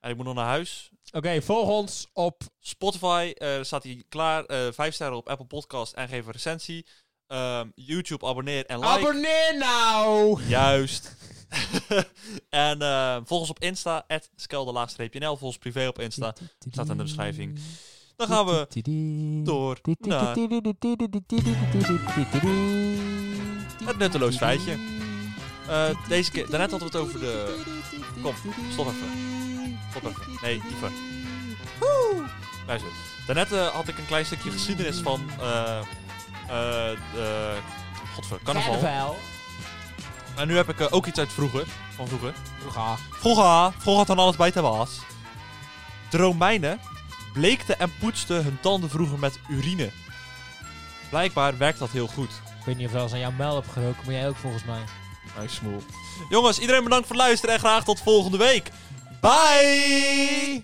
S2: En ik moet nog naar huis.
S1: Oké, volg ons op...
S2: Spotify eh, staat hier klaar. eh vijf sterren op Apple Podcast en geef een recensie. Ehm, YouTube abonneer en like.
S1: Abonneer nou!
S2: Juist. en eh volg ons op Insta, skelderlaagstreepje.nl. Volg ons privé op Insta. Staat in de beschrijving. Dan gaan we door naar het nutteloos feitje. Eh, deze keer, daarnet hadden we het over de... Kom, stop even. Stop even. Nee, Ivar. Luister. Daarnet eh, had ik een klein stukje geschiedenis van... eh eh de, godver, carnaval.
S1: Carnaval.
S2: En nu heb ik eh, ook iets uit vroeger. Van vroeger.
S1: Vroeger.
S2: Vroeger, vroeger dan alles bij te was. De Romeinen bleekten en poetsten hun tanden vroeger met urine. Blijkbaar werkt dat heel goed.
S1: Ik weet niet of wel eens aan jouw mel heb geroken, maar jij ook volgens mij.
S2: Hij smoel. Jongens, iedereen bedankt voor het luisteren en graag tot volgende week. Bye!